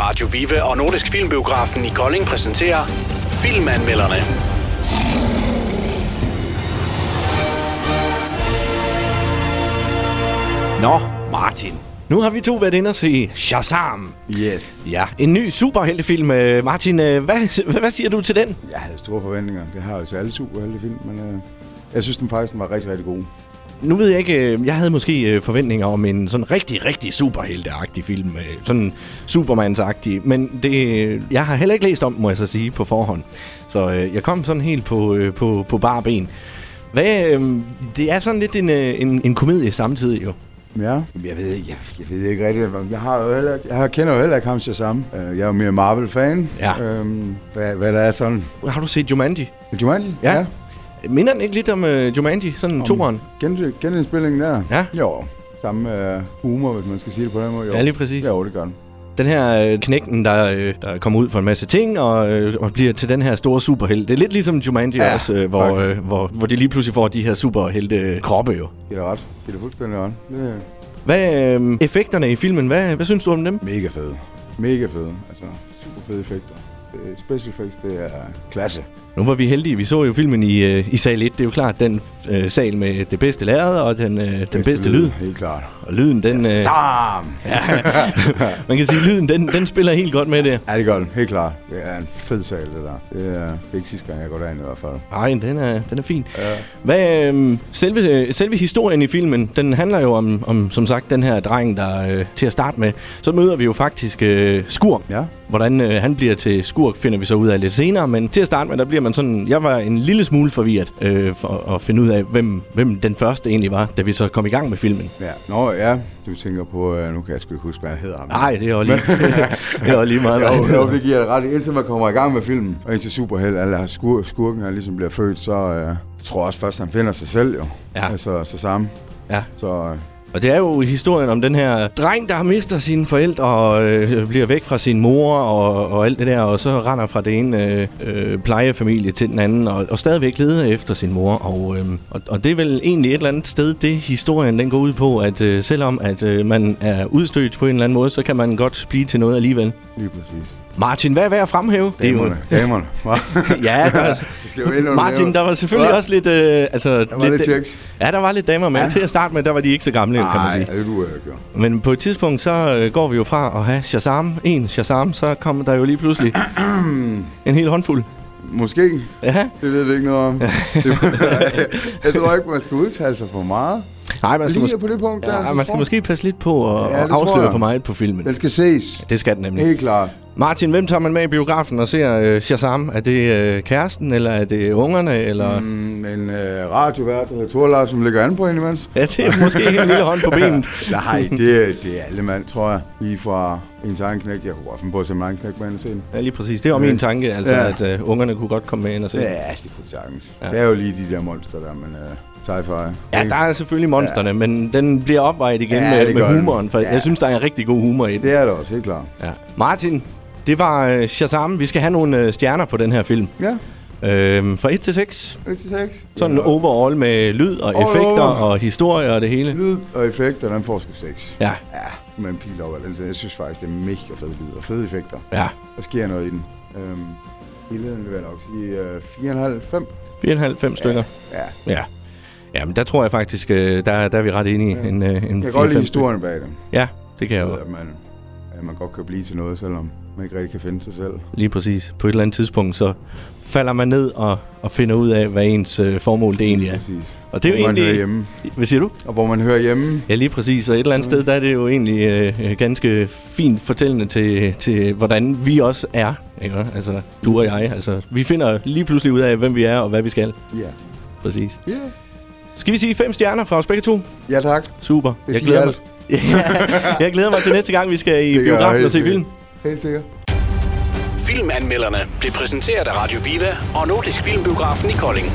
Radio Vive og Nordisk Filmbiografen i Kolding præsenterer Filmanmelderne. Nå, Martin. Nu har vi to været inde og se Shazam. Yes. Ja, en ny superheltefilm. Øh, Martin, øh, hvad, hvad siger du til den? Jeg havde store forventninger. Det har jo til alle superheltefilm, men øh, jeg synes den faktisk den var rigtig, rigtig god. Nu ved jeg ikke, øh, jeg havde måske øh, forventninger om en sådan rigtig, rigtig superhelteagtig film. øh, Sådan supermandsagtig. Men det, øh, jeg har heller ikke læst om, den, må jeg så sige, på forhånd. Så øh, jeg kom sådan helt på, øh, på, på bare ben. Hvad, øh, det er sådan lidt en, øh, en, en komedie samtidig jo. Ja. Jamen, Jeg ved, ikke- jeg, jeg ved ikke rigtigt. hvad- Jeg, har jo heller, ikke- jeg kender jo heller ikke ham Shazam. Øh, Jeg er jo mere Marvel-fan. Ja. Øhm, hvad, hvad der er sådan. Har du set Jumanji? Jumanji? Minder den ikke lidt om øh, Jumanji? Sådan om... toeren? Gen, genindspillingen der? Ja. Jo. Samme øh, humor, hvis man skal sige det på den måde. Jo. Ja, lige præcis. Jo, det gør den. Den her øh, knægten, der, øh, der kommer ud for en masse ting og, øh, og bliver til den her store superhelt. Det er lidt ligesom Jumanji ja, Ja, også, øh, hvor, faktisk. øh, hvor, hvor de lige pludselig får de her superhelte øh, kroppe jo. Det er ret. Det er fuldstændig ret. Det er Hvad øh, effekterne i filmen, hvad, hvad synes du om dem? mega fede. Mega fede. Altså, super fede effekter. Øh, Special effects, det er klasse. Nu var vi heldige, vi så jo filmen i, øh, i sal 1. Det er jo klart den øh, sal med det bedste lærred og den, øh, den bedste lyd. Helt klart. Og lyden, den... Øh, Sam! man kan sige, lyden, den, den spiller helt godt med det. Ja, det gør den. Helt klart. Det er en fed sal, det der. Det er, det er ikke sidste gang, jeg går derind i hvert fald. Ej, den er, den er fin. Ja. Hvad, øhm, selve, øh, selve historien i filmen, den handler jo om, om som sagt, den her dreng, der øh, til at starte med. Så møder vi jo faktisk øh, Skurk. Ja. Hvordan øh, han bliver til Skurk, finder vi så ud af lidt senere. Men til at starte med, der bliver man sådan... Jeg var en lille smule forvirret øh, for at finde ud af, hvem, hvem den første egentlig var, da vi så kom i gang med filmen. Ja. Nå, ja. Du tænker på, øh, nu kan jeg sgu ikke huske, hvad han hedder. ham. Nej, det er jo lige, det er jo lige meget. hvad han Jo, hedder. jo, det giver jeg ret. i. Indtil man kommer i gang med filmen, og indtil superheld, eller skur, skurken her ligesom bliver født, så øh, jeg tror jeg også først, han finder sig selv jo. Ja. Altså, så sammen. Ja. Så øh, Og det er jo historien om den her dreng, der mister sine forældre og øh, bliver væk fra sin mor og, og alt det der, og så render fra det ene øh, øh, plejefamilie til den anden, og, og stadigvæk leder efter sin mor. Og, øh, og, og det er vel egentlig et eller andet sted, det historien den går ud på, at øh, selvom at øh, man er udstødt på en eller anden måde, så kan man godt blive til noget alligevel. lige præcis. Martin, hvad er værd at fremhæve? Det er jo- Damerne. Damerne. Ja, der, Det skal jo ind under Martin, nævnet. der var selvfølgelig Hva? også lidt... Øh, altså, Der var lidt checks. Ja, der var lidt damer med. Ja. Ja. Til at starte med, der var de ikke så gamle, kan man sige. Nej, det du øh, gjorde. Men på et tidspunkt, så øh, går vi jo fra at have Shazam, en Shazam, så kommer der jo lige pludselig en hel håndfuld. Måske. Ja. Det ved vi ikke noget om. Det- jeg tror ikke, man skal udtale sig for meget. Nej, man Lige på det punkt der. ja, så man tror skal jeg- måske passe lidt på at Ja, ja, det tror afsløre jeg. for meget på filmen. Den skal ses. Det skal den nemlig. Helt klart. Martin, hvem tager man med i biografen og ser øh, Shazam? Er det øh, kæresten, eller er det ungerne, eller... Mm. Mm, En øh, radiovært, der hedder Thorleif, som ligger an på en imens. Ja, det er måske en lille hånd på benet. Nej, det, er- det er alle mand, tror jeg. Lige fra ens egen knæk. Jeg kunne godt finde på at se min egen knæk på anden scene. Ja, lige præcis. Det var min tanke, altså, ja. Ja. at øh, ungerne kunne godt komme med ind og se. Ja, Ja, det kunne jeg sagtens. Det er jo lige de der monster der, men øh, sci-fi. ja der er selvfølgelig monsterne, ja. men den bliver opvejet igen Ja, ja, med, det gør med den. humoren, for ja. Ja. jeg synes, der er en rigtig god humor i den. Det er det også, helt klart. Ja. Martin, det var øh, Shazam. Vi skal have nogle øh, stjerner på den her film. Ja, Øh, fra 1 til 6. 1 til 6. Sådan ja. overall med lyd og Overall. effekter og historie og det hele. Lyd og effekter, den får sgu 6. Ja, Ja, med en pil op. Altså, jeg synes faktisk, det er mega fed lyd og fede effekter. ja. Der sker noget i den. Øhm, billedet vil jeg nok sige øh, 4,5-5. 4,5 stykker. Ja, Ja. Jamen, der tror jeg faktisk, øh, der, der er vi ret enige. Ja. En, øh, en jeg 4-5 kan godt lide stykker. historien bag det. Ja, det kan jeg Jeg ved, jo. at man, at man godt kan blive til noget, selvom man ikke rigtig kan finde sig selv. Lige præcis. På et eller andet tidspunkt, så falder man ned og, og finder ud af, hvad ens øh, formål det egentlig er. Præcis. Og det er jo hvor man hører egentlig... hjemme. Hvad siger du? Og hvor man hører hjemme. Ja, lige præcis. Og et eller andet sted, der er det jo egentlig øh, øh, ganske fint fortællende til, til, hvordan vi også er. Ikke? Altså, du og jeg. Altså, vi finder lige pludselig ud af, hvem vi er og hvad vi skal. Ja. Præcis. Yeah. Skal vi sige fem stjerner fra os begge to? Ja, tak. Super. Det Jeg siger glæder, mig. alt. ja, jeg glæder mig til næste gang, vi skal i Det gør jeg biografen helt og se sikkert. film. Helt sikkert. Filmanmelderne blev præsenteret af Radio Vive og Nordisk Filmbiografen i Kolding.